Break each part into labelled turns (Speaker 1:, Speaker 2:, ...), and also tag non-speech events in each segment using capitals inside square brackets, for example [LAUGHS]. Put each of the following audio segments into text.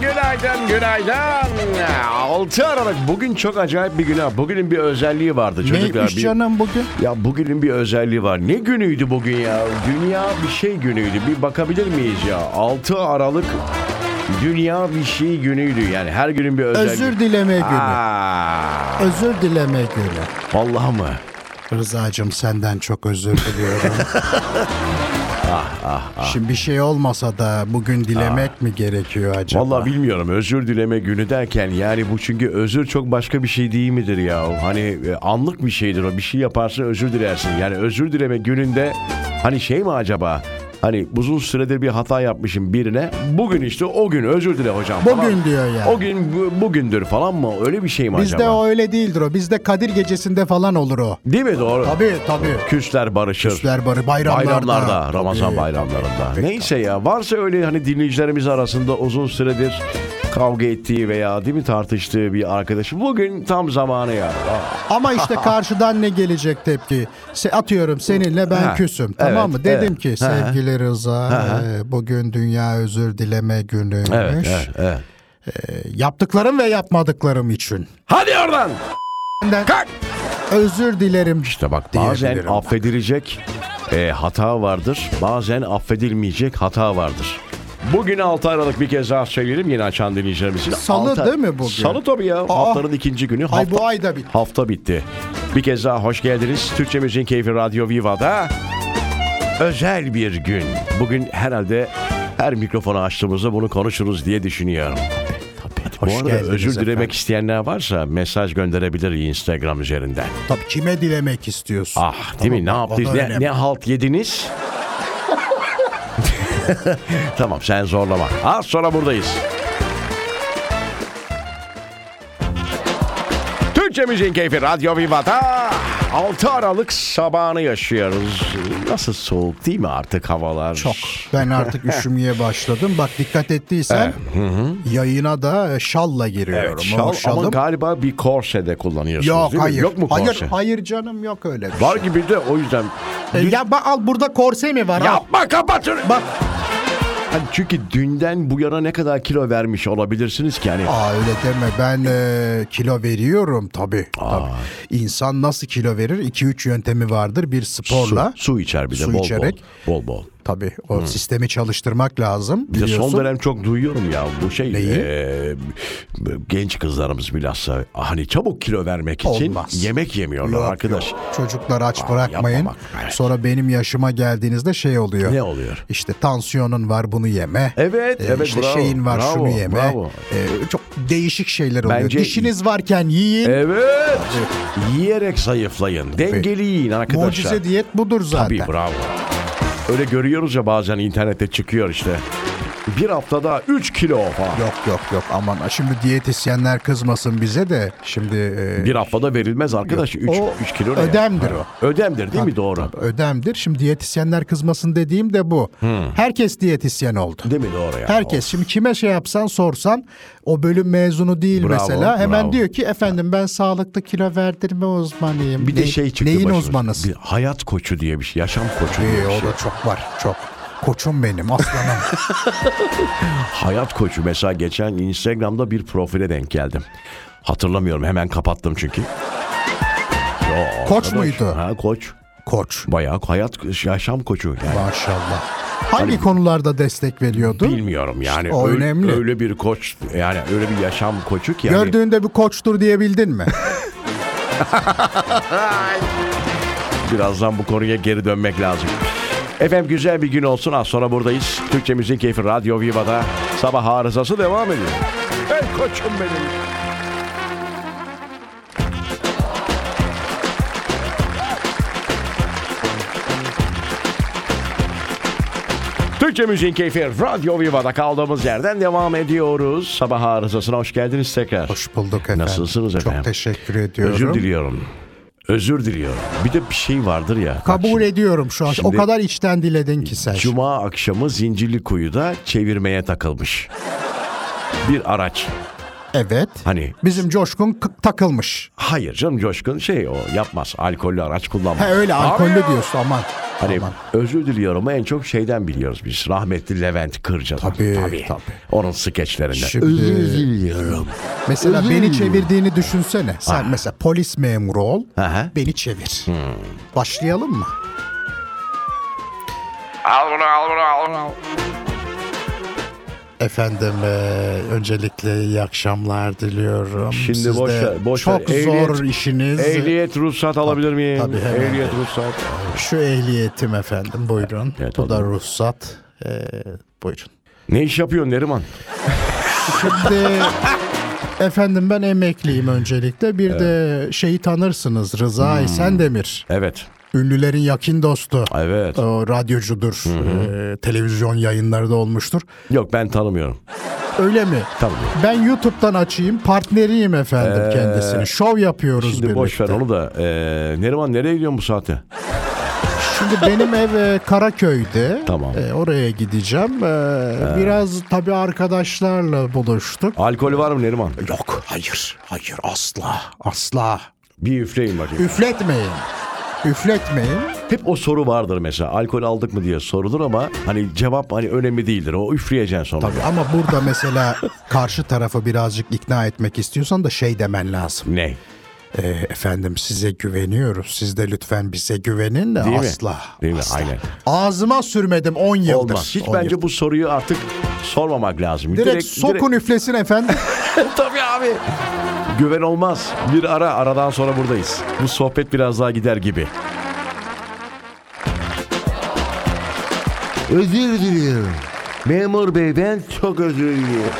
Speaker 1: günaydın, günaydın. 6 Aralık bugün çok acayip bir gün ha. Bugünün bir özelliği vardı çocuklar.
Speaker 2: Neymiş
Speaker 1: Bir-
Speaker 2: canım bugün?
Speaker 1: Ya bugünün bir özelliği var. Ne günüydü bugün ya? Dünya bir şey günüydü. Bir bakabilir miyiz ya? 6 Aralık Dünya bir şey günüydü. Yani her günün bir özelliği.
Speaker 2: Özür dileme günü.
Speaker 1: Aa,
Speaker 2: Özür dileme günü.
Speaker 1: vallahi mı?
Speaker 2: Rıza'cığım senden çok özür
Speaker 1: [LAUGHS]
Speaker 2: diliyorum.
Speaker 1: Ah,
Speaker 2: Şimdi bir şey olmasa da bugün dilemek mi gerekiyor acaba?
Speaker 1: Vallahi bilmiyorum özür dileme günü derken yani bu çünkü özür çok başka bir şey değil midir ya? Hani e, anlık bir şeydir o bir şey yaparsın özür dilersin. Yani özür dileme gününde hani şey mi acaba? Hani uzun süredir bir hata yapmışım birine. Bugün işte o gün özür dile hocam.
Speaker 2: Bugün
Speaker 1: falan.
Speaker 2: diyor yani.
Speaker 1: O gün bu- bugündür falan mı? Öyle bir şey mi
Speaker 2: Bizde
Speaker 1: acaba?
Speaker 2: o öyle değildir o. Bizde Kadir gecesinde falan olur o.
Speaker 1: Değil mi doğru?
Speaker 2: Tabii tabii.
Speaker 1: Küsler barışır.
Speaker 2: Küsler barı bayramlarda.
Speaker 1: Bayramlarda, Ramazan
Speaker 2: Tabii.
Speaker 1: bayramlarında. Neyse ya varsa öyle hani dinleyicilerimiz arasında uzun süredir kavga ettiği veya değil mi tartıştığı bir arkadaşı bugün tam zamanı ya. [LAUGHS]
Speaker 2: Ama işte karşıdan ne gelecek tepki? Se atıyorum seninle ben
Speaker 1: Ha,
Speaker 2: küsüm.
Speaker 1: evet,
Speaker 2: Tamam mı? Dedim
Speaker 1: evet.
Speaker 2: ki
Speaker 1: Ha, ha.
Speaker 2: sevgili Rıza e, bugün dünya özür dileme günüymüş.
Speaker 1: Evet, evet, evet.
Speaker 2: Yaptıklarım ve yapmadıklarım için.
Speaker 1: Hadi oradan.
Speaker 2: Benden
Speaker 1: Kalk.
Speaker 2: özür dilerim.
Speaker 1: İşte bak bazen
Speaker 2: Diyebilirim.
Speaker 1: affedilecek e, hata vardır. Bazen affedilmeyecek hata vardır. Bugün 6 Aralık bir kez daha söyleyelim yeni açan dinleyicilerimiz için.
Speaker 2: Salı
Speaker 1: Altı-
Speaker 2: değil mi bugün?
Speaker 1: Salı tabii ya. Haftanın ikinci günü.
Speaker 2: Ay
Speaker 1: Hafta-
Speaker 2: bu ay da bitti.
Speaker 1: Hafta bitti. Bir kez daha hoş geldiniz. Türkçe Müziğin Keyfi Radyo Viva'da özel bir gün. Bugün herhalde her mikrofonu açtığımızda bunu konuşuruz diye düşünüyorum.
Speaker 2: Hoş
Speaker 1: Bu arada
Speaker 2: geldiniz
Speaker 1: özür dilemek
Speaker 2: efendim.
Speaker 1: isteyenler varsa mesaj gönderebilir Instagram üzerinden.
Speaker 2: Tabii kime dilemek istiyorsun?
Speaker 1: Ah değil mi? Ne
Speaker 2: Tamam,
Speaker 1: yaptınız?
Speaker 2: o da
Speaker 1: Ne,
Speaker 2: önemli.
Speaker 1: ne halt
Speaker 2: [LAUGHS]
Speaker 1: yediniz? tamam sen zorlama. Az sonra buradayız. Türkçe Müziğin Keyfi Radyo Viva'da 6 Aralık sabahını yaşıyoruz. Nasıl soğuk değil mi artık havalar?
Speaker 2: Çok. Ben
Speaker 1: [LAUGHS]
Speaker 2: artık üşümeye başladım. Bak dikkat ettiysen yayına da e, şalla giriyorum.
Speaker 1: Evet,
Speaker 2: O
Speaker 1: şal, ama
Speaker 2: şalım-
Speaker 1: galiba bir korse de kullanıyorsunuz
Speaker 2: Yok
Speaker 1: değil mi?
Speaker 2: hayır.
Speaker 1: Yok mu korse?
Speaker 2: hayır, hayır canım yok öyle bir
Speaker 1: Var
Speaker 2: şey.
Speaker 1: gibi de o yüzden.
Speaker 2: E, ya bak al burada korse mi var? al?
Speaker 1: Yapma kapatın.
Speaker 2: Bak.
Speaker 1: Hani çünkü dünden bu yana ne kadar kilo vermiş olabilirsiniz ki hani.
Speaker 2: Aa öyle deme ben e, kilo veriyorum tabii, tabii. İnsan nasıl kilo verir? 2-3 yöntemi vardır. Bir sporla.
Speaker 1: Su, su içer bir de
Speaker 2: Su
Speaker 1: bol
Speaker 2: içerek.
Speaker 1: bol. Bol bol.
Speaker 2: Tabii o sistemi çalıştırmak lazım.
Speaker 1: Hmm. Bir de
Speaker 2: biliyorsun.
Speaker 1: son dönem çok duyuyorum ya bu şey
Speaker 2: Neyi?
Speaker 1: eee, genç kızlarımız bilhassa hani çabuk kilo vermek için
Speaker 2: Olmaz.
Speaker 1: yemek yemiyorlar
Speaker 2: Yok,
Speaker 1: arkadaş.
Speaker 2: yok. Çocukları aç bırakmayın.
Speaker 1: yapma bak, evet.
Speaker 2: Sonra benim yaşıma geldiğinizde şey oluyor.
Speaker 1: Ne oluyor?
Speaker 2: İşte tansiyonun var bunu yeme.
Speaker 1: Evet,
Speaker 2: Ee,
Speaker 1: evet,
Speaker 2: işte
Speaker 1: bravo,
Speaker 2: şeyin var
Speaker 1: bravo,
Speaker 2: şunu yeme.
Speaker 1: bravo.
Speaker 2: Ee, çok değişik şeyler oluyor.
Speaker 1: Bence-
Speaker 2: Dişiniz varken yiyin.
Speaker 1: Evet. Yiyerek zayıflayın. Dengeli yiyin arkadaşlar.
Speaker 2: Mucize diyet budur zaten.
Speaker 1: Tabii bravo. Öyle görüyoruz ya bazen internette çıkıyor işte. Bir haftada 3 kilo falan.
Speaker 2: Yok yok yok aman şimdi diyetisyenler kızmasın bize de şimdi e,
Speaker 1: Bir haftada verilmez arkadaş. 3
Speaker 2: o
Speaker 1: kilo ne ya?
Speaker 2: ödemdir o.
Speaker 1: Ödemdir değil mi doğru?
Speaker 2: ödemdir. Şimdi diyetisyenler kızmasın dediğim de bu.
Speaker 1: Hmm.
Speaker 2: Herkes diyetisyen oldu.
Speaker 1: Değil mi doğru ya?
Speaker 2: Herkes şimdi kime şey yapsan sorsan o bölüm mezunu değil
Speaker 1: Bravo,
Speaker 2: mesela hemen
Speaker 1: bravo.
Speaker 2: diyor ki efendim ben sağlıklı kilo verdirme uzmanıyım.
Speaker 1: Bir de
Speaker 2: Ne-
Speaker 1: şey çıktı
Speaker 2: Neyin
Speaker 1: başımıza.
Speaker 2: uzmanısın?
Speaker 1: Bir hayat koçu diye bir şey. Yaşam koçu diye
Speaker 2: Ee,
Speaker 1: bir şey.
Speaker 2: o da çok var çok. Koçum
Speaker 1: [LAUGHS]
Speaker 2: benim aslanım.
Speaker 1: Hayat koçu mesela geçen Instagram'da bir profile denk geldim. Hatırlamıyorum hemen kapattım çünkü. Ya
Speaker 2: Koç
Speaker 1: arkadaş,
Speaker 2: muydu?
Speaker 1: Ha koç.
Speaker 2: Koç
Speaker 1: Bayağı hayat yaşam koçu. Yani
Speaker 2: maşallah. Hangi konularda destek veriyordu?
Speaker 1: bilmiyorum yani.
Speaker 2: O
Speaker 1: öyle,
Speaker 2: önemli.
Speaker 1: Öyle bir koç yani öyle bir yaşam koçu ki. yani-
Speaker 2: Gördüğünde bir koçtur diyebildin
Speaker 1: [LAUGHS]
Speaker 2: mi?
Speaker 1: Birazdan bu konuya geri dönmek lazım. Efendim güzel bir gün olsun. Az sonra buradayız. Türkçe Müzik Keyfi Radyo Viva'da sabah arızası devam ediyor. Ey koçum benim. Türkçe Müzik Keyfi Radyo Viva'da kaldığımız yerden devam ediyoruz. Sabah arızasına hoş geldiniz tekrar.
Speaker 2: Hoş bulduk efendim.
Speaker 1: Nasılsınız efendim?
Speaker 2: Çok teşekkür ediyorum.
Speaker 1: Özür diliyorum. Özür diliyorum. Bir de bir şey vardır ya. Bak
Speaker 2: Kabul
Speaker 1: şimdi,
Speaker 2: ediyorum şu an.
Speaker 1: Şimdi-
Speaker 2: o kadar içten diledin ki sen.
Speaker 1: Cuma akşamı Zincirlikuyu'da çevirmeye takılmış. Bir araç.
Speaker 2: evet.
Speaker 1: Hani-
Speaker 2: Bizim Coşkun kı- takılmış.
Speaker 1: Hayır canım Coşkun şey o yapmaz. Alkollü araç kullanmaz.
Speaker 2: He öyle
Speaker 1: Abi
Speaker 2: alkollü
Speaker 1: ya,
Speaker 2: diyorsun aman.
Speaker 1: Hani
Speaker 2: Aman.
Speaker 1: özür diliyorumu en çok şeyden biliyoruz biz. Rahmetli Levent Kırcalar.
Speaker 2: Tabii, tabii.
Speaker 1: Onun skeçlerinden.
Speaker 2: Şimdi-
Speaker 1: diliyorum.
Speaker 2: Mesela beni çevirdiğini düşünsene. Sen mesela polis memuru ol,
Speaker 1: Aha.
Speaker 2: beni çevir.
Speaker 1: Hmm.
Speaker 2: Başlayalım mı?
Speaker 3: Al bunu al bunu al bunu.
Speaker 2: Efendim eee, öncelikle iyi akşamlar diliyorum.
Speaker 1: Şimdi
Speaker 2: Siz
Speaker 1: boş
Speaker 2: de
Speaker 1: ver, boş ver.
Speaker 2: çok
Speaker 1: Ehliyet-
Speaker 2: zor işiniz.
Speaker 1: Ehliyet ruhsat alabilir miyim?
Speaker 2: Tabii, hemen.
Speaker 1: Ehliyet ruhsat.
Speaker 2: Şu ehliyetim efendim buyurun.
Speaker 1: Evet,
Speaker 2: Bu da ruhsat. Eee, buyurun.
Speaker 1: Ne iş yapıyorsun Neriman?
Speaker 2: Şimdi efendim ben emekliyim öncelikle. Bir de şeyi tanırsınız
Speaker 1: Hmm.
Speaker 2: Rıza Esendemir.
Speaker 1: Evet.
Speaker 2: Ünlülerin yakın dostu.
Speaker 1: Evet.
Speaker 2: O radyocudur. eee, televizyon yayınları da olmuştur.
Speaker 1: Yok ben tanımıyorum.
Speaker 2: Öyle mi?
Speaker 1: Tabii. Ee,
Speaker 2: Ben YouTube'dan açayım. Partneriyim efendim kendisini. Şov yapıyoruz
Speaker 1: Şimdi boş ver
Speaker 2: birlikte.
Speaker 1: onu da. Ee, Neriman nereye gidiyorsun bu saatte?
Speaker 2: Şimdi benim ev e, Karaköy'de.
Speaker 1: Tamam. Ee.
Speaker 2: E, oraya gideceğim. E, Biraz tabii arkadaşlarla buluştuk.
Speaker 1: Alkol var mı Neriman?
Speaker 2: Yok, hayır, hayır asla, asla.
Speaker 1: Bir üfleyin bakayım.
Speaker 2: Üfletmeyin. Üfletmeyin.
Speaker 1: Hep o soru vardır mesela. Alkol aldık mı diye sorulur ama hani cevap hani önemli değildir. O üfleyeceksin sonra.
Speaker 2: Tabii ama burada mesela karşı tarafı birazcık ikna etmek istiyorsan da şey demen lazım.
Speaker 1: Ne?
Speaker 2: E, efendim size güveniyoruz. Siz de lütfen bize güvenin de
Speaker 1: Değil mi?
Speaker 2: asla.
Speaker 1: Değil mi?
Speaker 2: asla.
Speaker 1: Aynen.
Speaker 2: Ağzıma sürmedim 10 yıldır.
Speaker 1: Olmaz. Hiç
Speaker 2: 10
Speaker 1: bence
Speaker 2: yıldır.
Speaker 1: bu soruyu artık sormamak lazım.
Speaker 2: Direkt, sokun
Speaker 1: [LAUGHS]
Speaker 2: üflesin efendim.
Speaker 1: direkt- Tabii abi. Güven olmaz. Bir ara aradan sonra buradayız. Bu sohbet biraz daha gider gibi. Özür diliyorum. Memur bey ben çok özür diliyorum.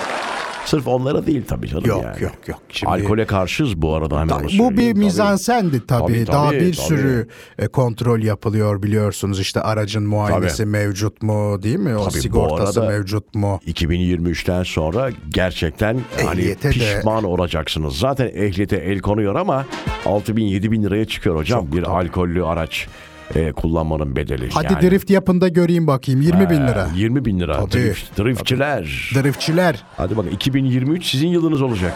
Speaker 1: Sırf onlara değil tabii canım
Speaker 2: Yok
Speaker 1: yani.
Speaker 2: yok yok. Şimdi
Speaker 1: Alkole karşıyız bu arada hemen onu
Speaker 2: bu
Speaker 1: söyleyeyim.
Speaker 2: bir
Speaker 1: Tabii.
Speaker 2: mizansendi tabii.
Speaker 1: Tabii,
Speaker 2: Daha
Speaker 1: tabii,
Speaker 2: bir
Speaker 1: tabii.
Speaker 2: sürü e, kontrol yapılıyor biliyorsunuz. İşte aracın muayenesi
Speaker 1: Tabii.
Speaker 2: mevcut mu değil mi? O
Speaker 1: Tabii, bu
Speaker 2: sigortası
Speaker 1: arada-
Speaker 2: mevcut mu?
Speaker 1: 2023'ten sonra gerçekten hani
Speaker 2: Ehliyete de-
Speaker 1: pişman olacaksınız. Zaten ehliyete el konuyor ama 6 bin 7 bin liraya çıkıyor hocam bir alkollü araç e, kullanmanın bedeli.
Speaker 2: Hadi
Speaker 1: Yani,
Speaker 2: drift yapında göreyim bakayım 20 bin lira.
Speaker 1: 20 bin lira.
Speaker 2: Tabii,
Speaker 1: Drift, driftçiler.
Speaker 2: Driftçiler
Speaker 1: Hadi bakın 2023 sizin yılınız olacak.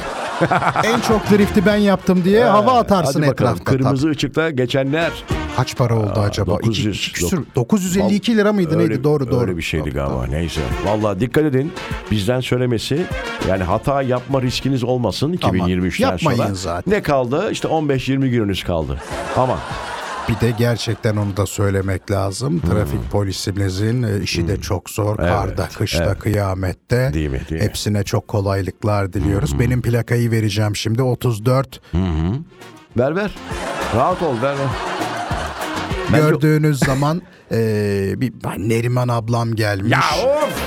Speaker 2: en çok drifti ben yaptım diye hava atarsın
Speaker 1: Ee, Hadi bakalım
Speaker 2: etrafta.
Speaker 1: kırmızı ışıkta geçenler.
Speaker 2: tabii. Kaç para oldu acaba? İki-
Speaker 1: 900,
Speaker 2: iki küsür- 952 lira mıydı
Speaker 1: Öyle-
Speaker 2: neydi? Doğru doğru.
Speaker 1: Öyle bir şey şeydi galiba neyse. Vallahi dikkat edin bizden söylemesi yani hata yapma riskiniz olmasın 2023'ten
Speaker 2: Yapmayın
Speaker 1: sonra.
Speaker 2: zaten.
Speaker 1: Ne kaldı? İşte 15-20 gününüz kaldı. Ama
Speaker 2: Bir de gerçekten onu da söylemek lazım.
Speaker 1: Hmm.
Speaker 2: Trafik polisimizin e, işi de çok zor. Karda, kışta, kıyamette.
Speaker 1: Değil mi, Hmm. değil mi?
Speaker 2: Hepsine çok kolaylıklar diliyoruz. Benim plakayı vereceğim şimdi 34.
Speaker 1: Hmm. ver ver. Rahat ol ver ver. Bence-
Speaker 2: Gördüğünüz zaman e, bir ben Neriman ablam gelmiş.
Speaker 1: Ya of!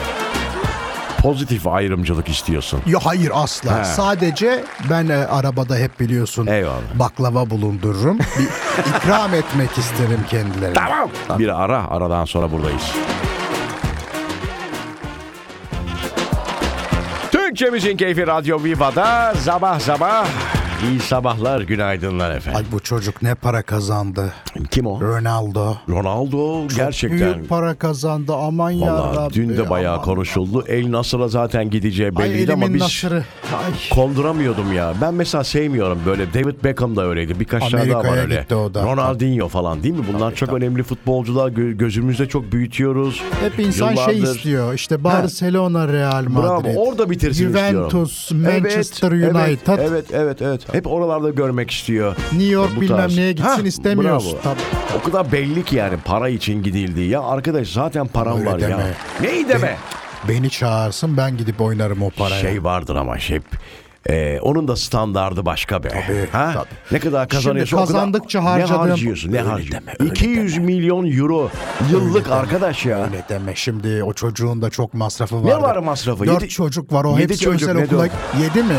Speaker 1: Pozitif ayrımcılık istiyorsun.
Speaker 2: Yo, hayır asla.
Speaker 1: He.
Speaker 2: Sadece ben e, arabada hep biliyorsun
Speaker 1: Eyvallah. [LAUGHS]
Speaker 2: baklava bulundururum. bir ikram etmek isterim kendilerine.
Speaker 1: Tamam. Bir ara aradan sonra buradayız. Türkçe Müziğin Keyfi Radyo Viva'da sabah sabah iyi sabahlar günaydınlar efendim.
Speaker 2: Ay bu çocuk ne para kazandı.
Speaker 1: Kim o?
Speaker 2: Ronaldo.
Speaker 1: Ronaldo gerçekten.
Speaker 2: Büyük para kazandı aman ya
Speaker 1: Valla
Speaker 2: Rabbi.
Speaker 1: dün de bayağı
Speaker 2: aman.
Speaker 1: konuşuldu. El Nasır'a zaten gideceği
Speaker 2: Ay
Speaker 1: belliydi ama
Speaker 2: elimin
Speaker 1: biz
Speaker 2: nasırı. Ay.
Speaker 1: konduramıyordum ya. Ben mesela sevmiyorum böyle. David Beckham da öyleydi. Birkaç tane daha var
Speaker 2: Amerika'ya
Speaker 1: öyle.
Speaker 2: gitti o da.
Speaker 1: Ronaldinho falan değil mi? Bunlar çok önemli futbolcular. Gö- Gözümüzde çok büyütüyoruz.
Speaker 2: Hep insan şey
Speaker 1: Yıllardır-
Speaker 2: istiyor. İşte Barcelona, Real Madrid.
Speaker 1: Bravo orada bitirsin
Speaker 2: Juventus,
Speaker 1: istiyorum.
Speaker 2: Manchester
Speaker 1: Evet,
Speaker 2: United,
Speaker 1: Evet, evet, evet, Hep oralarda görmek istiyor.
Speaker 2: New York
Speaker 1: Bu
Speaker 2: bilmem
Speaker 1: tarz.
Speaker 2: neye gitsin
Speaker 1: Hah,
Speaker 2: istemiyoruz.
Speaker 1: bravo.
Speaker 2: Tabii.
Speaker 1: O kadar belli ki yani para için gidildi. Ya arkadaş zaten param
Speaker 2: Öyle
Speaker 1: var ya.
Speaker 2: deme.
Speaker 1: Neyi deme?
Speaker 2: Beni çağırsın ben gidip oynarım o paraya.
Speaker 1: Şey vardır ama şey. Ee, onun da standardı başka be.
Speaker 2: Tabii, tabii.
Speaker 1: Ne kadar kazanıyorsun
Speaker 2: Şimdi kazandıkça
Speaker 1: o kadar
Speaker 2: harcadığım-
Speaker 1: ne harcıyorsun? Ne
Speaker 2: Öyle
Speaker 1: harcıyorsun?
Speaker 2: deme, öyle
Speaker 1: 200 milyon euro yıllık arkadaş ya.
Speaker 2: Öyle deme şimdi o çocuğun da çok masrafı var.
Speaker 1: var masrafı?
Speaker 2: Dört
Speaker 1: Yedi-
Speaker 2: çocuk var o
Speaker 1: Yedi
Speaker 2: hepsi
Speaker 1: çocuk,
Speaker 2: özel
Speaker 1: ne
Speaker 2: okula.
Speaker 1: diyor?
Speaker 2: [LAUGHS]
Speaker 1: [LAUGHS]
Speaker 2: Yedi mi?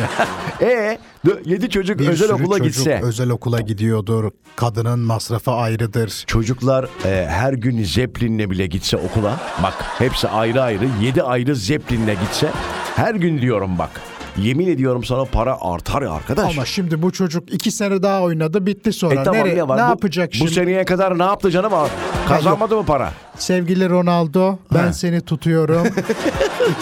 Speaker 1: E 7 çocuk
Speaker 2: Bir
Speaker 1: özel
Speaker 2: sürü
Speaker 1: okula
Speaker 2: çocuk
Speaker 1: gitse.
Speaker 2: Özel okula gidiyordur. Kadının masrafı ayrıdır.
Speaker 1: Çocuklar e, her gün Zeppelin'le bile gitse okula bak hepsi ayrı ayrı 7 ayrı Zeppelin'le gitse her gün diyorum bak yemin ediyorum sana para artar ya arkadaş.
Speaker 2: Ama şimdi bu çocuk iki sene daha oynadı bitti sonra.
Speaker 1: E tamam,
Speaker 2: Nereye- ne,
Speaker 1: var? Bu-
Speaker 2: yapacak
Speaker 1: bu,
Speaker 2: şimdi?
Speaker 1: seneye kadar ne yaptı canım? Aa, Kazanmadı mı para?
Speaker 2: Sevgili Ronaldo ben
Speaker 1: [LAUGHS]
Speaker 2: seni tutuyorum.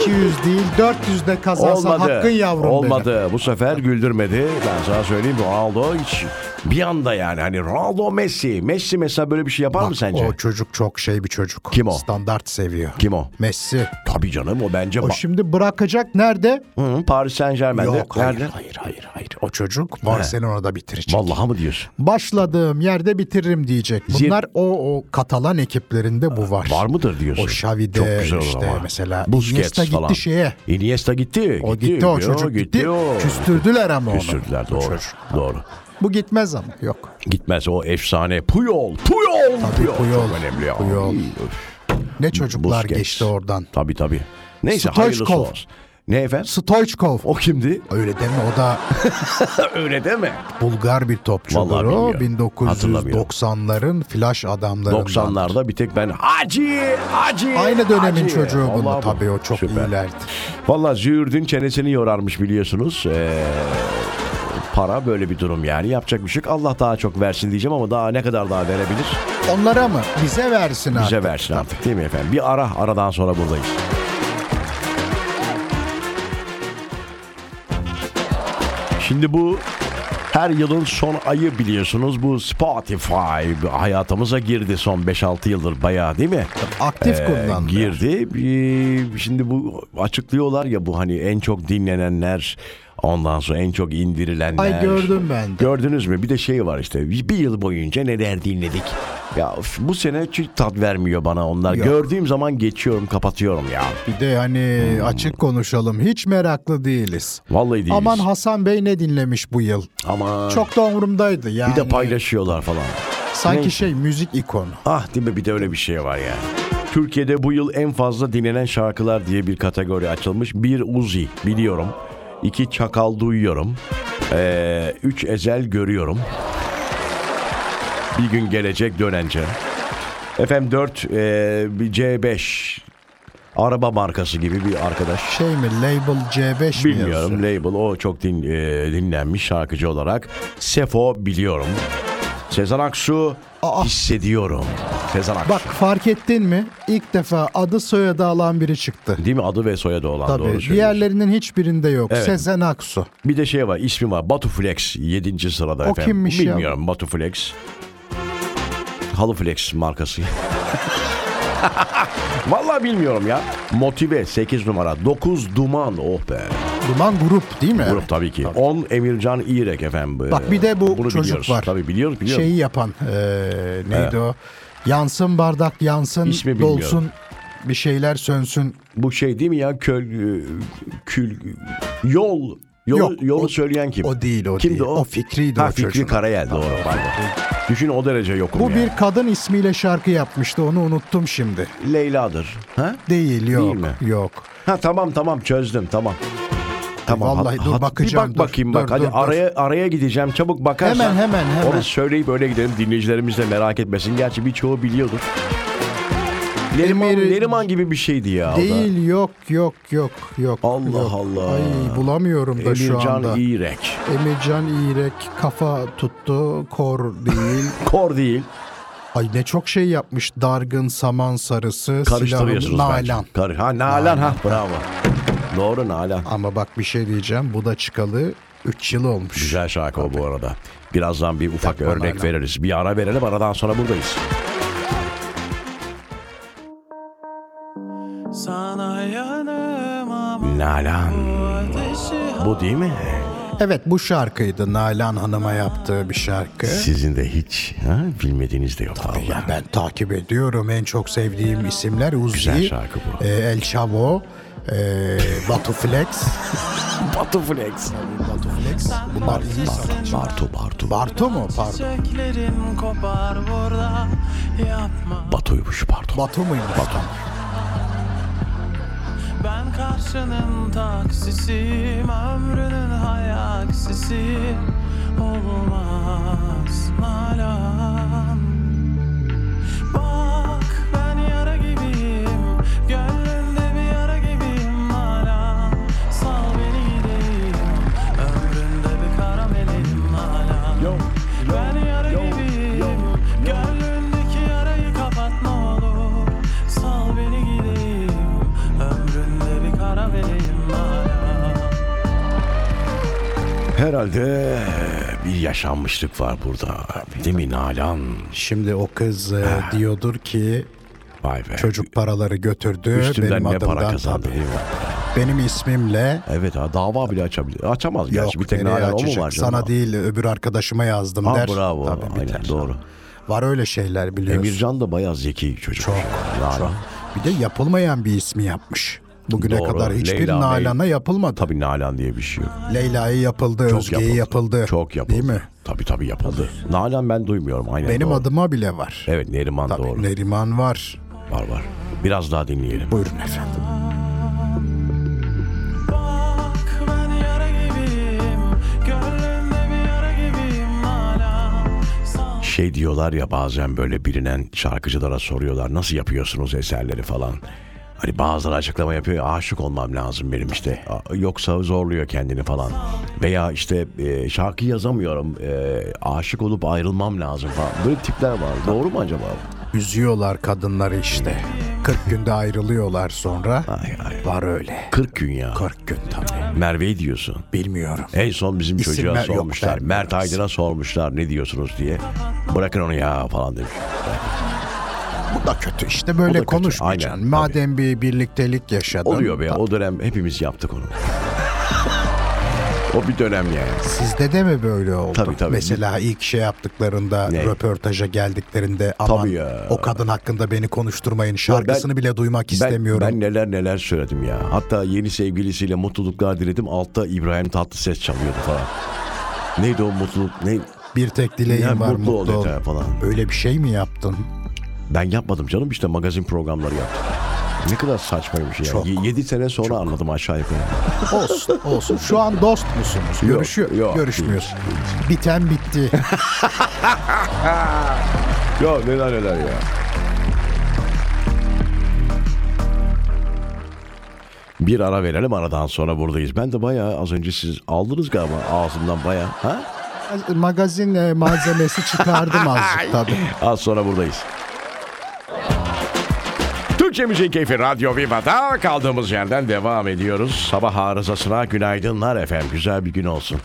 Speaker 2: 200 değil 400 de kazansan
Speaker 1: Olmadı.
Speaker 2: hakkın yavrum benim.
Speaker 1: Olmadı. Bu sefer güldürmedi. Ben sana söyleyeyim Ronaldo hiç Bir anda yani hani Ronaldo Messi. Messi mesela böyle bir şey yapar mı
Speaker 2: Bak,
Speaker 1: sence?
Speaker 2: O çocuk çok şey bir çocuk.
Speaker 1: Kim o?
Speaker 2: Standart seviyor.
Speaker 1: Kim o?
Speaker 2: Messi.
Speaker 1: Tabii canım o bence
Speaker 2: O
Speaker 1: ba-
Speaker 2: şimdi bırakacak nerede?
Speaker 1: Hı, Paris Saint Germain'de.
Speaker 2: Yok hayır,
Speaker 1: Nerede?
Speaker 2: hayır hayır hayır. O çocuk Barcelona'da bitirecek.
Speaker 1: Vallahi mı diyorsun?
Speaker 2: Başladığım yerde bitiririm diyecek.
Speaker 1: Zir-
Speaker 2: Bunlar o, o Katalan ekiplerinde bu var.
Speaker 1: Var mıdır diyorsun?
Speaker 2: O Xavi'de
Speaker 1: Çok güzel olur
Speaker 2: işte
Speaker 1: ama.
Speaker 2: mesela
Speaker 1: Busquets
Speaker 2: Iniesta gitti
Speaker 1: falan.
Speaker 2: şeye.
Speaker 1: Iniesta gitti.
Speaker 2: O gitti, o
Speaker 1: yo,
Speaker 2: çocuk gitti.
Speaker 1: o.
Speaker 2: Küstürdüler ama onu.
Speaker 1: Küstürdüler
Speaker 2: O
Speaker 1: doğru.
Speaker 2: çocuk.
Speaker 1: Doğru.
Speaker 2: Bu gitmez ama yok.
Speaker 1: Gitmez o efsane. Puyol. Puyol. Puyol.
Speaker 2: Puyol,
Speaker 1: Çok önemli ya.
Speaker 2: Puyol.
Speaker 1: İyi, öf.
Speaker 2: Ne çocuklar
Speaker 1: Busquets.
Speaker 2: geçti oradan.
Speaker 1: Tabii tabii. Neyse
Speaker 2: Stoichkov.
Speaker 1: hayırlısı olsun. Ne efendim?
Speaker 2: Stoichkov.
Speaker 1: O kimdi? [LAUGHS]
Speaker 2: Öyle deme o da [LAUGHS]
Speaker 1: Öyle deme.
Speaker 2: Bulgar bir topçudur
Speaker 1: Vallahi
Speaker 2: o.
Speaker 1: bilmiyorum. Hatırlamıyorum.
Speaker 2: 1990'ların flash adamlarından.
Speaker 1: 90'larda bir tek ben Hacı, Hacı.
Speaker 2: Aynı dönemin
Speaker 1: Hacı.
Speaker 2: çocuğu bunda
Speaker 1: Vallahi bu-
Speaker 2: tabii o çok
Speaker 1: Süper.
Speaker 2: iyilerdi.
Speaker 1: Valla züğürdün çenesini yorarmış biliyorsunuz. Ee, para böyle bir durum yani. Yapacak bir şey yok. Allah daha çok versin diyeceğim ama daha ne kadar daha verebilir?
Speaker 2: Onlara mı? Bize versin artık.
Speaker 1: Bize versin artık değil mi efendim? Bir ara aradan sonra buradayız. Şimdi bu her yılın son ayı biliyorsunuz bu Spotify hayatımıza girdi son 5-6 yıldır bayağı değil mi?
Speaker 2: Aktif
Speaker 1: Ee,
Speaker 2: kullandı.
Speaker 1: girdi. Ee, Şimdi bu açıklıyorlar ya bu hani en çok dinlenenler ondan sonra en çok indirilenler.
Speaker 2: Ay gördüm ben de.
Speaker 1: Gördünüz mü? Bir de şey var işte. Bir yıl boyunca neler dinledik. Ya üf, bu sene hiç tat vermiyor bana onlar.
Speaker 2: Yok.
Speaker 1: Gördüğüm zaman geçiyorum, kapatıyorum ya.
Speaker 2: Bir de hani açık konuşalım. Hiç meraklı değiliz.
Speaker 1: Vallahi değiliz.
Speaker 2: Aman Hasan Bey ne dinlemiş bu yıl?
Speaker 1: Aman.
Speaker 2: Çok da umurumdaydı yani.
Speaker 1: Bir de paylaşıyorlar falan.
Speaker 2: Sanki
Speaker 1: Neyse.
Speaker 2: şey müzik ikonu.
Speaker 1: Ah değil mi? Bir de öyle bir şey var ya. Türkiye'de bu yıl en fazla dinlenen şarkılar diye bir kategori açılmış. Bir Uzi biliyorum. İki Çakal duyuyorum. Ee, üç Ezel görüyorum. Bir gün gelecek dönence. Efendim e, 4 C5 araba markası gibi bir arkadaş.
Speaker 2: Şey mi label C5 mi yazıyor?
Speaker 1: Bilmiyorum label o çok din, e, dinlenmiş şarkıcı olarak. Sefo biliyorum. Sezen Aksu
Speaker 2: Aa.
Speaker 1: hissediyorum. Sezen Aksu.
Speaker 2: Bak fark ettin mi? İlk defa adı soyadı alan biri çıktı.
Speaker 1: Değil mi? Adı ve soyadı olan doğru
Speaker 2: Tabii.
Speaker 1: söylüyorsun.
Speaker 2: Diğerlerinin hiçbirinde yok.
Speaker 1: Evet.
Speaker 2: Sezen Aksu.
Speaker 1: Bir de şey var ismi var Batu Flex 7. sırada
Speaker 2: O
Speaker 1: efendim.
Speaker 2: kimmiş ya?
Speaker 1: Bilmiyorum Batu Flex. Halı Flex markası. [LAUGHS] Vallahi bilmiyorum ya. Motive 8 numara. 9 Duman oh be.
Speaker 2: Duman grup değil mi?
Speaker 1: Grup tabii ki. 10 Emircan İrek efendim.
Speaker 2: Bak bir de bu
Speaker 1: Bunu
Speaker 2: çocuk
Speaker 1: biliyoruz.
Speaker 2: var. Şey
Speaker 1: Tabii biliyoruz biliyoruz.
Speaker 2: Şeyi yapan eee, neydi o? Yansın bardak yansın
Speaker 1: İsmi bilmiyorum.
Speaker 2: dolsun bir şeyler sönsün.
Speaker 1: Bu şey değil mi ya köl e, kül yol yolu,
Speaker 2: Yok,
Speaker 1: yolu
Speaker 2: o-
Speaker 1: söyleyen kim?
Speaker 2: o değil, o
Speaker 1: Kimdi
Speaker 2: değil.
Speaker 1: o?
Speaker 2: O Fikri'ydi
Speaker 1: ha,
Speaker 2: o
Speaker 1: Fikri
Speaker 2: çocuğun.
Speaker 1: Karayel doğru. pardon. Düşün o derece yokum
Speaker 2: Bu
Speaker 1: ya.
Speaker 2: bir kadın ismiyle şarkı yapmıştı onu unuttum şimdi.
Speaker 1: Leyla'dır. Ha?
Speaker 2: Değil yok
Speaker 1: mi?
Speaker 2: yok.
Speaker 1: Ha tamam tamam çözdüm tamam.
Speaker 2: Vallahi
Speaker 1: hat-
Speaker 2: dur,
Speaker 1: hat-
Speaker 2: bakacağım,
Speaker 1: Bir
Speaker 2: dur,
Speaker 1: bak bakayım
Speaker 2: dur,
Speaker 1: bak hadi
Speaker 2: dur, dur.
Speaker 1: araya araya gideceğim çabuk bakarsan.
Speaker 2: Hemen, hemen, hemen.
Speaker 1: Onu söyleyip öyle gidelim dinleyicilerimiz de merak etmesin. Gerçi birçoğu biliyordur. Neriman,
Speaker 2: Emir-
Speaker 1: Neriman gibi bir şeydi ya. o da.
Speaker 2: Değil yok yok yok yok.
Speaker 1: Allah
Speaker 2: yok.
Speaker 1: Allah.
Speaker 2: Ay bulamıyorum da şu anda.
Speaker 1: Emircan İrek.
Speaker 2: Emircan İrek kafa tuttu kor değil.
Speaker 1: [LAUGHS] Kor değil.
Speaker 2: Ay ne çok şey yapmış. Dargın, saman sarısı, silahın,
Speaker 1: Karıştırıyorsunuz bence.
Speaker 2: nalan.
Speaker 1: Karı- ha Nalan ha bravo. Doğru Nalan.
Speaker 2: Ama bak bir şey diyeceğim. Bu da çıkalı 3 yıl olmuş.
Speaker 1: Güzel şarkı o bu arada. Birazdan bir ufak
Speaker 2: Yapma
Speaker 1: örnek
Speaker 2: Nalan.
Speaker 1: veririz. Bir ara verelim aradan sonra buradayız.
Speaker 4: Sana yanım ama
Speaker 1: Nalan.
Speaker 4: ateşi
Speaker 1: Bu değil mi?
Speaker 2: Evet bu şarkıydı. Nalan Hanım'a yaptığı bir şarkı.
Speaker 1: Sizin de hiç ha, bilmediğiniz de yok. Allah.
Speaker 2: Ya ben takip ediyorum. En çok sevdiğim isimler Uzi,
Speaker 1: Güzel şarkı bu.
Speaker 2: e, El Chavo, e, Batu Flex.
Speaker 1: Batu Flex.
Speaker 2: Batu Flex. Bunlar iyi sanatçı.
Speaker 1: Bartu Bartu.
Speaker 2: Bartu mu? Pardon.
Speaker 4: çiçeklerim kopar burada yapma
Speaker 1: Batu'ymuş pardon.
Speaker 2: Batu muymuş?
Speaker 4: ben karşının taksisiyim ömrünün hayaksisi olmaz nalan bak ben yara gibiyim gönlünde bir yara gibiyim hala sal beni gideyim ömründe bir karamelim hala ben yara gibiyim Gönlündeki yarayı kapat ne olur Sal beni gideyim Ömründe bir kara vereyim hala
Speaker 1: Herhalde bir yaşanmışlık var burada. Değil mi Nalan?
Speaker 2: Şimdi o kız e, diyordur ki
Speaker 1: Vay be.
Speaker 2: çocuk paraları götürdü
Speaker 1: Üstümden
Speaker 2: benim
Speaker 1: ne
Speaker 2: adımdan
Speaker 1: para kazandı
Speaker 2: tabii.
Speaker 1: değil mi?
Speaker 2: Benim ismimle
Speaker 1: Evet ha dava bile açabilir. Açamaz gerçi bir tek
Speaker 2: nereye
Speaker 1: Nalan o mu
Speaker 2: açacak?
Speaker 1: var canım?
Speaker 2: Sana değil öbür arkadaşıma yazdım
Speaker 1: Ha
Speaker 2: der.
Speaker 1: bravo.
Speaker 2: Tabii
Speaker 1: Aynen
Speaker 2: biter.
Speaker 1: doğru.
Speaker 2: Var öyle şeyler biliyorsun.
Speaker 1: Emircan da bayağı zeki çocuk.
Speaker 2: Çok,
Speaker 1: Nalan.
Speaker 2: çok. Bir de yapılmayan bir ismi yapmış. Bugüne
Speaker 1: Doğru.
Speaker 2: kadar hiçbir
Speaker 1: Leyla,
Speaker 2: Nalan'a
Speaker 1: Leyla.
Speaker 2: yapılmadı.
Speaker 1: Tabii Nalan diye bir şey yok.
Speaker 2: Leyla'ya yapıldı,
Speaker 1: Çok
Speaker 2: Özge'ye yapıldı.
Speaker 1: Çok yapıldı.
Speaker 2: Değil mi?
Speaker 1: Tabii tabii yapıldı. Nalan ben duymuyorum. Aynen
Speaker 2: Benim
Speaker 1: doğru.
Speaker 2: adıma bile var.
Speaker 1: Evet Neriman
Speaker 2: Tabii
Speaker 1: doğru.
Speaker 2: Neriman var.
Speaker 1: Var var. Biraz daha dinleyelim.
Speaker 2: Buyurun efendim.
Speaker 4: Bak ben yara gibiyim Gönlümde bir yara gibiyim hala Sal
Speaker 1: Şey diyorlar ya bazen böyle bilinen şarkıcılara soruyorlar nasıl yapıyorsunuz eserleri falan. Hani bazıları açıklama yapıyor ya, aşık olmam lazım benim işte. A- Yoksa zorluyor kendini falan. Veya işte e, şarkı yazamıyorum. e, aşık olup ayrılmam lazım falan. Böyle tipler var. Doğru mu acaba?
Speaker 2: Üzüyorlar kadınları işte. 40 günde ayrılıyorlar sonra.
Speaker 1: Ay, ay.
Speaker 2: Var öyle.
Speaker 1: 40 gün ya.
Speaker 2: 40 gün tabii.
Speaker 1: Merve'yi diyorsun.
Speaker 2: Bilmiyorum.
Speaker 1: En son bizim
Speaker 2: İsim
Speaker 1: çocuğa
Speaker 2: ver- yok,
Speaker 1: sormuşlar.
Speaker 2: vermiyoruz.
Speaker 1: Mert Aydın'a sormuşlar ne diyorsunuz diye. Bırakın onu ya falan demiş.
Speaker 2: Bu da kötü. İşte
Speaker 1: O da
Speaker 2: böyle
Speaker 1: kötü, aynen,
Speaker 2: konuşmayacaksın.
Speaker 1: tabii.
Speaker 2: Madem bir birliktelik yaşadın.
Speaker 1: Oluyor be. O dönem hepimiz yaptık onu. o bir dönem yani.
Speaker 2: Sizde de mi böyle oldu?
Speaker 1: Tabii, tabii.
Speaker 2: Mesela ilk şey yaptıklarında
Speaker 1: Ne?
Speaker 2: röportaja geldiklerinde aman
Speaker 1: Tabii ya.
Speaker 2: o kadın hakkında beni konuşturmayın şarkısını
Speaker 1: ben-
Speaker 2: bile duymak
Speaker 1: Ben,
Speaker 2: istemiyorum.
Speaker 1: ben neler neler söyledim ya. Hatta yeni sevgilisiyle mutluluklar diledim. Altta İbrahim Tatlıses çalıyordu falan. Neydi o mutluluk? Ne?
Speaker 2: bir tek dileğim
Speaker 1: Ya,
Speaker 2: var
Speaker 1: mutlu
Speaker 2: mutlu,
Speaker 1: ol
Speaker 2: ol.
Speaker 1: yeter falan.
Speaker 2: Öyle bir şey
Speaker 1: [LAUGHS]
Speaker 2: mi yaptın?
Speaker 1: Ben yapmadım canım işte magazin programları yaptım. Ne kadar saçmaymış ya.
Speaker 2: Çok.
Speaker 1: 7 sene sonra anladım aşağı yukarı.
Speaker 2: Olsun olsun. Şu an dost musunuz? Görüşüyor.
Speaker 1: yok.
Speaker 2: Görüşmüyoruz. Biten bitti.
Speaker 1: Ya neler neler ya. Bir ara verelim aradan sonra buradayız. Ben de bayağı az önce siz aldınız galiba ağzımdan bayağı. Ha?
Speaker 2: Magazin e, malzemesi
Speaker 1: [LAUGHS]
Speaker 2: çıkardım azıcık tabii.
Speaker 1: Az sonra buradayız. Türkçe Müzik Keyfi Radyo Viva'da kaldığımız yerden devam ediyoruz. Sabah arızasına günaydınlar efendim. Güzel bir gün olsun.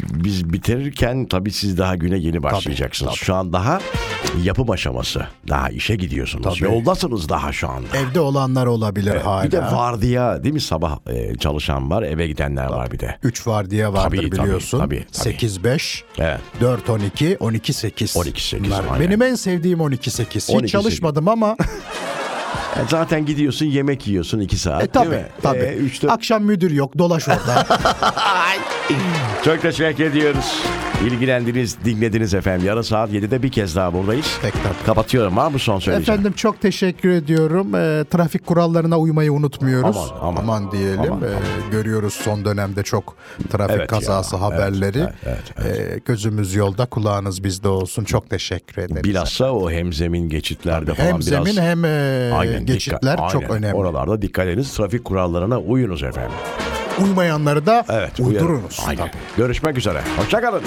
Speaker 1: Biz bitirirken tabii siz daha güne yeni başlayacaksınız. Şu an daha yapım aşaması. Daha işe gidiyorsunuz.
Speaker 2: Tabii.
Speaker 1: Yoldasınız daha şu anda.
Speaker 2: Evde olanlar olabilir hala.
Speaker 1: Bir de vardiya değil mi sabah e, çalışan var eve gidenler var bir de.
Speaker 2: 3 vardiya vardır
Speaker 1: Tabii, tabii,
Speaker 2: biliyorsun.
Speaker 1: tabii, tabii.
Speaker 2: 8-5,
Speaker 1: Evet.
Speaker 2: 4-12, 12-8.
Speaker 1: 12-8,
Speaker 2: Bunlar.
Speaker 1: aynen.
Speaker 2: Benim en sevdiğim 12-8. Hiç
Speaker 1: 12-8. [LAUGHS]
Speaker 2: çalışmadım ama [LAUGHS]
Speaker 1: E, zaten gidiyorsun yemek yiyorsun iki saat
Speaker 2: e, tabii.
Speaker 1: değil mi?
Speaker 2: tabii.
Speaker 1: E, üç, dört-
Speaker 2: Akşam müdür yok
Speaker 1: [LAUGHS]
Speaker 2: dolaş orada.
Speaker 1: Çok teşekkür ediyoruz. İlgilendiniz, dinlediniz efendim. Yarın saat 7'de bir kez daha buradayız.
Speaker 2: Tekrar.
Speaker 1: Kapatıyorum. Var mı son söyleyeceğim?
Speaker 2: Efendim çok teşekkür ediyorum. Ee, trafik kurallarına uymayı unutmuyoruz.
Speaker 1: Aman, aman.
Speaker 2: diyelim.
Speaker 1: Aman,
Speaker 2: Ee, görüyoruz son dönemde çok trafik
Speaker 1: Evet
Speaker 2: kazası
Speaker 1: ya,
Speaker 2: haberleri.
Speaker 1: evet, evet,
Speaker 2: Ee, gözümüz yolda, kulağınız bizde olsun. Çok teşekkür ederiz.
Speaker 1: Bilhassa o hemzemin geçitlerde falan
Speaker 2: hem
Speaker 1: biraz...
Speaker 2: zemin hem e,
Speaker 1: Aynen,
Speaker 2: geçitler
Speaker 1: dikkat-
Speaker 2: çok
Speaker 1: aynen.
Speaker 2: önemli.
Speaker 1: Oralarda dikkat ediniz. Trafik kurallarına uyunuz efendim.
Speaker 2: Uymayanları da
Speaker 1: Evet. uyarım.
Speaker 2: uydurunuz.
Speaker 1: Aynen.
Speaker 2: Tabii.
Speaker 1: Görüşmek üzere. Hoşçakalın.